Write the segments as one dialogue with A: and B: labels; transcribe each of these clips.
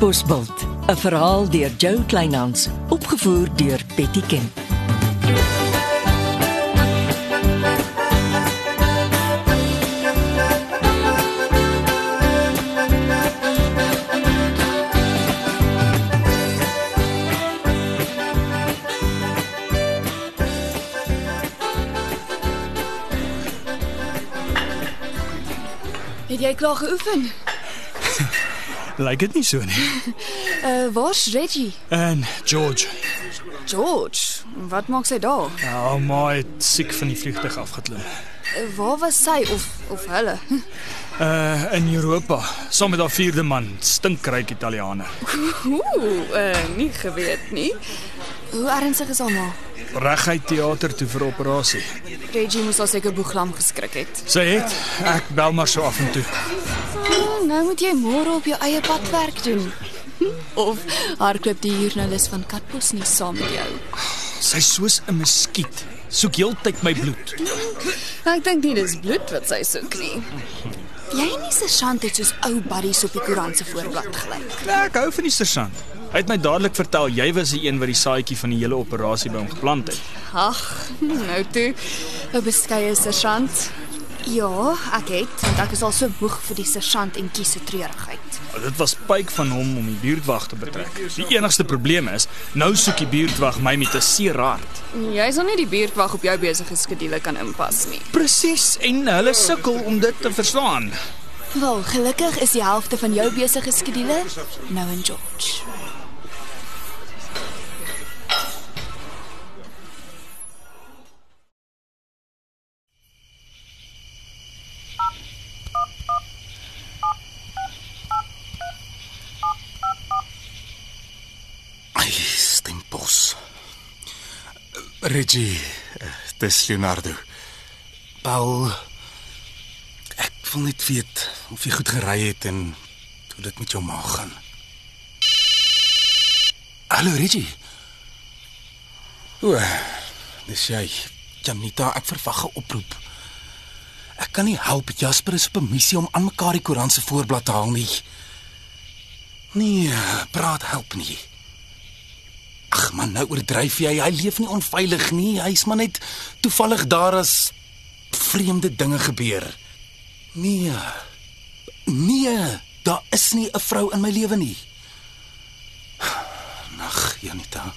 A: Bosbult, 'n verhaal deur Jo Kleinhans, opgevoer deur Betty Ken.
B: Het jy klaar geoefen?
C: Lyk dit nie so nie.
B: Uh waar's Reggie?
C: En George,
B: George, wat maak sy daar?
C: nou maar het siek van die vliegtuig afgeklim.
B: Uh, waar was sy of of hulle?
C: Uh in Europa, saam met haar vierde man, stinkryk Italianer.
B: Ooh, uh nie geweet nie. Hoe ernstig is haar ma?
C: Reguit teater toe vir operasie.
B: Reggie moes al seker boeglam geskrik het.
C: Sy het ek bel maar so af en toe.
B: Oh, nou moet jy môre op jou eie pad werk doen. Of hardloop die joernalis van Katbos nie saam met jou.
C: Sy's soos 'n muskiet, soek heeltyd my bloed.
B: Nou, Ek dink nie dis bloed wat sy soek nie. Jy nie se chant het soos ou buddies op die koerant se voorblad gelyk.
C: Ja, ek hou van die sergeant. Hy het my dadelik vertel jy was die een wat die saadjie van die hele operasie by hom geplant het.
B: Ag, nou toe. 'n Beskeie sergeant. Ja, ek het, want ek is al so moeg vir die sergeant en kies se treurigheid.
C: Dit was pyk van hom om die buurtwag te betrek. Die enigste probleem is, nou soek die buurtwag my met 'n seer hart.
B: Jy sal nie die buurtwag op jou besige skedule kan inpas nie.
C: Presies, en hulle sukkel om dit te verstaan.
B: Wel, gelukkig is die helfte van jou besige skedule nou in George.
D: Ai, stempels. Reggie, eh, dis Leonardo. Paul, ek wil net weet of jy goed gery het en hoe dit met jou ma gaan. Hallo Reggie. O, dis jy. Janita, ek verwag 'n oproep. Ek kan nie help Jasper is op 'n missie om aan mekaar die koerant se voorblad te haal nie. Nee, praat help nie. Ag man, nou oordryf jy. Hy leef nie onveilig nie. Hy's maar net toevallig daar as vreemde dinge gebeur. Nee. Nee, daar is nie 'n vrou in my lewe nie. Nag, Janita.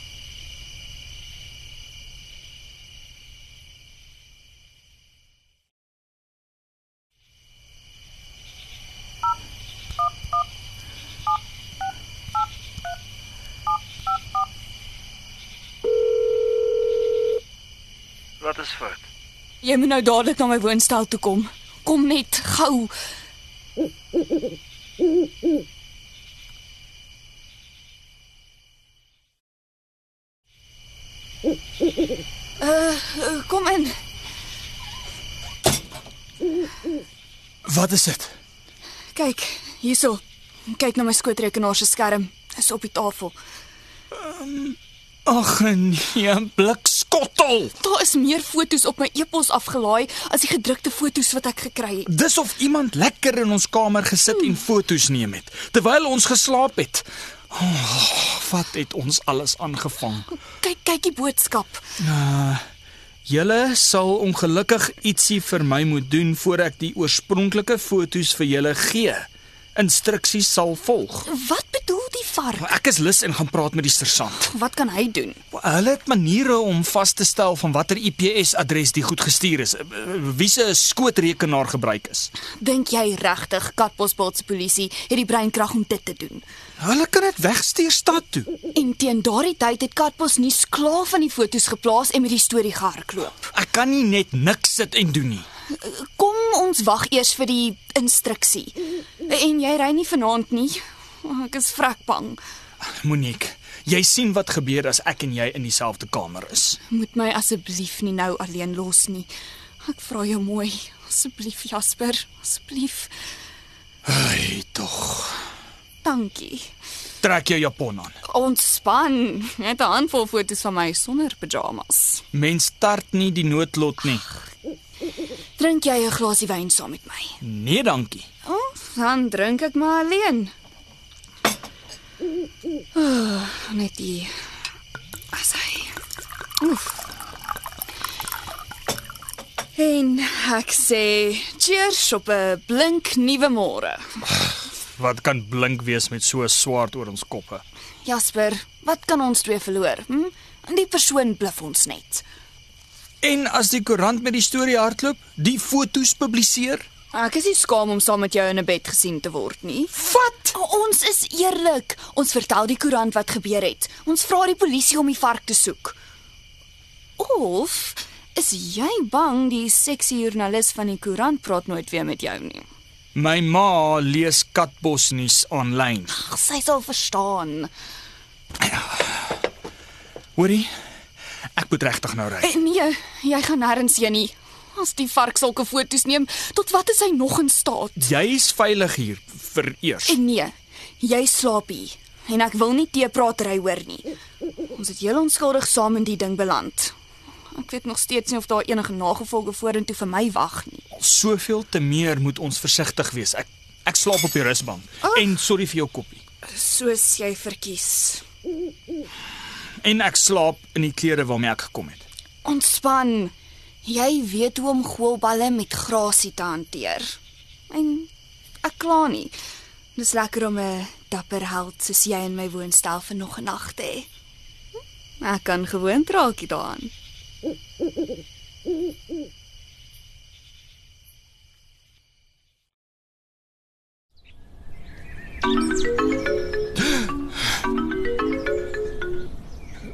E: Wat is fout?
B: Jy moet nou dadelik na my woonstel toe kom. Kom net gou. Uh, Eh, kom in.
C: Wat is dit?
B: Kyk, hierso. Kyk na my skootrekenaar se skerm. Is op die tafel.
C: Ag nee, 'n blik skottel.
B: Daar is meer fotos op my e-pos afgelaai as die gedrukte fotos wat ek gekry het.
C: Dis of iemand lekker in ons kamer gesit en foto's neem het terwyl ons geslaap het. Oh, wat het ons alles aangevang?
B: Kyk, kyk die boodskap.
C: Julle sal ongelukkig ietsie vir my moet doen voor ek die oorspronklike foto's vir julle gee. Instruksies sal volg.
B: Wat bedoel die vark?
C: Ek is lus en gaan praat met die sergeant.
B: Wat kan hy doen?
C: Hulle het maniere om vas te stel van watter IPS-adres die goed gestuur is, eh, wie se skootrekenaar gebruik is.
B: Dink jy regtig Katbosbult se polisie het die breinkrag om dit te doen?
C: Hulle kan dit wegstuur stad toe.
B: En teen daardie tyd het Katbos nuus klaar van die fotos geplaas en met die storie gehardloop.
C: Ek kan nie net niks sit en doen nie.
B: Kom ons wag eers vir die instruksie. En jy ry nie vanaand nie. Oh, Ek is vrek bang.
C: Monique, jy sien wat gebeur as ek en jy in dieselfde kamer is.
B: Moet my asseblief nie nou alleen los nie. Ek vra jou mooi, asseblief Jasper, asseblief.
C: Ai, tog.
B: Dankie.
C: Trek jou japon aan.
B: Ontspan. Jy het 'n handvol foto's van my sonder pyjamas.
C: Mens start nie die noodlot nie.
B: Drink jy 'n glasie wyn saam met my? Hm,
C: Nee, dankie.
B: O, oh, dan drink ek maar alleen. Oh, Net die as hy. Oef. En ek sê cheers op 'n blink nuwe môre.
C: Wat kan blink wees met so 'n swaard oor ons koppe?
B: Jasper, wat kan ons twee verloor? Hm? En die persoon bluf ons net.
C: En as die koerant met die storie hardloop, die fotos publiseer?
B: Ek is nie skaam om saam met jou in 'n bed gesien te word nie.
C: Wat?
B: Ons is eerlik. Ons vertel die koerant wat gebeur het. Ons vra die polisie om die vark te soek. Of is jy bang die seksie joernalis van die koerant praat nooit weer met jou nie?
C: My ma lees katbosnuus aanlyn.
B: Ag, sy sal verstaan.
C: Hoorie? Ek moet regtig nou ry.
B: En nee, jy gaan nêrens heen nie. As die vark sulke foto's neem, tot wat is hy nog in staat?
C: Jy's veilig hier vir eers.
B: En nee, jy slaap hier. En ek wil nie teepratery hoor nie. Ons het heel onskuldig saam in die ding beland. Ek weet nog steeds nie of daar enige nagevolge vorentoe vir my wag nie.
C: Soveel te meer moet ons versigtig wees. Ek ek slaap op die rusbank.
B: Ag.
C: En sorry vir jou koppie.
B: Soos jy verkies.
C: En ek slaap in die klere waarmee ek gekom het.
B: Ontspan. Jy weet hoe om goalballe met grasie te hanteer. En ek kla nie. Dis lekker om 'n dapper held soos jy in my woonstel vir nog 'n nag te hê. Ek kan gewoond raakie daaraan.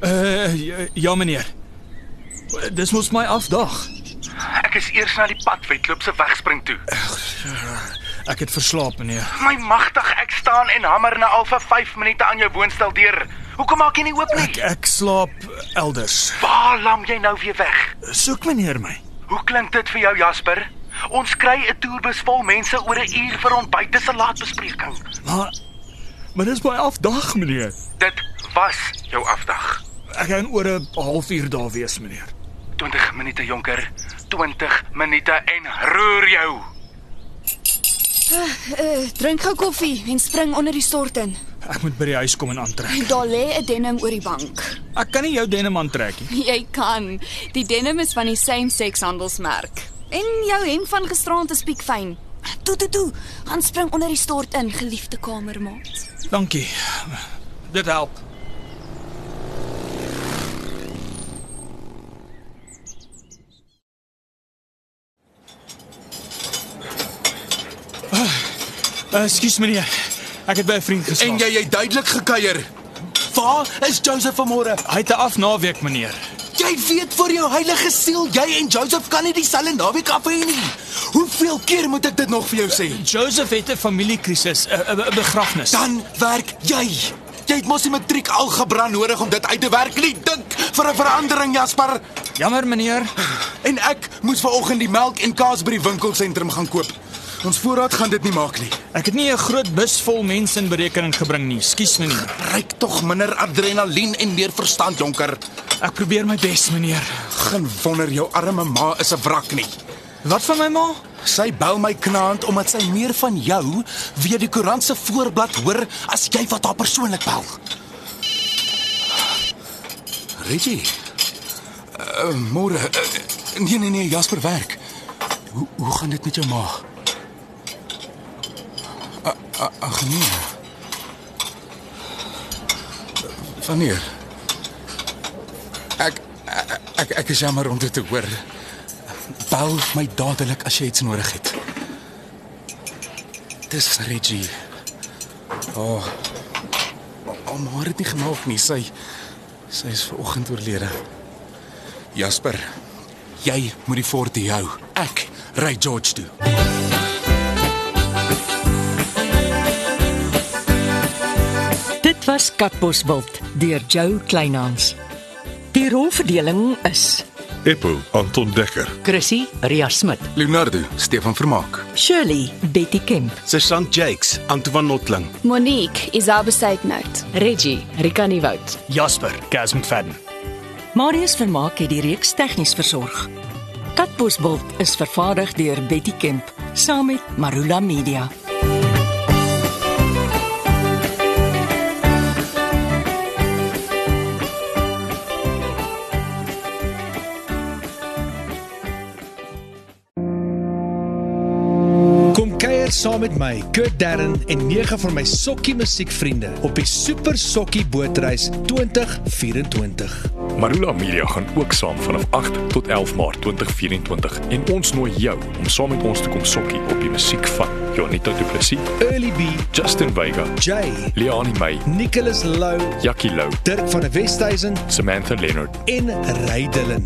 C: Uh ja, ja meneer. Dis mos my afdag.
E: Ek is eers na die padwedloop se wegspring toe.
C: Ek het verslaap meneer.
E: My magtig, ek staan en hamer na al vir 5 minute aan jou woonstel deur. Hoekom maak jy nie oop nie?
C: Ek slaap elders.
E: Waar lam jy nou weer weg?
C: Soek meneer my.
E: Hoe klink dit vir jou Jasper? Ons kry 'n toerbus vol mense oor 'n uur vir ontbyt te salaatbespreking.
C: Maar maar dis my afdag meneer.
E: Dit was jou afdag.
C: Ek gaan oor 'n halfuur daar wees meneer.
E: 20 minute jonker, 20 minute en roer jou.
B: Uh, drink gou koffie en spring onder die stort in.
C: Ek moet by die huis kom en aantrek.
B: Daar lê 'n denim oor die bank.
C: Ek kan nie jou denim aantrek nie.
B: Jy kan. Die denim is van die same-sex handelsmerk. En jou hemp van gisteraand is piekfyn. Toe toe toe, gaan spring onder die stort in, geliefde kamermaat.
C: Dankie. Dit help. Ah, Ekskuus meneer. Ek het by 'n vriend geslaap.
D: En jy jy duidelik gekuier. Waar is Joseph vanmôre?
C: Hy het 'n af naweek meneer.
D: Jy weet vir jou heilige siel, jy en Joseph kan nie dieselfde naweek af hê nie. Hoeveel keer moet ek dit nog vir jou sê?
C: Joseph het 'n familiekrisis, 'n- 'n 'n begrafnis.
D: Dan werk jy. Jy het mos die matriek algebra nodig om dit uit te werk. Nie dink vir 'n verandering, Jasper.
C: Jammer meneer.
D: En ek moes vanoggend die melk en kaas by die winkelsentrum gaan koop. Ons voorraad gaan dit nie maak nie.
C: Ek het nie 'n groot bus vol mense in berekening gebring nie. Ekskuus meneer.
D: Ryk tog minder adrenalien en meer verstand, jonker.
C: Ek probeer my bes meneer.
D: Geen wonder jou arme ma is 'n wrak nie.
C: Wat van my ma?
D: Sy bel my knaand omdat sy meer van jou via die koerant se voorblad hoor as jy wat haar persoonlik bel. Reggie. Uh, Môre. Uh, nee nee nee, Jasper werk. Hoe hoe gaan dit met jou ma? A- a- Ag nee. Wanneer? Ek ek- ek ek is jammer om dit te hoor. Bel my dadelik as jy iets nodig het. Dis Reggie. Oh. Om haar het nie gemaak nie. Sy sy is vanoggend oorlede. Jasper, jy moet die fort hier hou. Ek ry George toe.
A: Dit was Katbosveld deur Jo Kleinhans. Die rolverdeling is
F: Eppo Anton Dekker.
G: Chrissy Ria Smit,
D: Leonardo, Stefan Vermaak.
A: Shirley Betty Kemp,
H: Sergeant Jakes, Antoine Notling.
B: Monique is haar besigheid.
G: Reggie Rikani Wout.
C: Jasper, Gas McFadden.
A: Marius Vermaak het die reeks tegnies versorg. Katbosveld is vervaardig deur Betty Kemp saam met Marula Media.
I: kuier saam met my, Kurt Darren en nege van my sokkie musiekvriende op die Super Sokkie Bootreis 2024.
J: Marula Media gaan ook saam vanaf 8 tot 11 Maart 2024 en ons nooi jou om saam met ons te kom sokkie op die musiek van Jonita Du Plessis,
I: Early B,
J: Justin Vega,
I: Jay,
J: Leani May,
I: Nicholas Lou,
J: Jackie Lou,
I: Dirk van der Westhuizen
J: Samantha Leonard.
I: en Rydelin.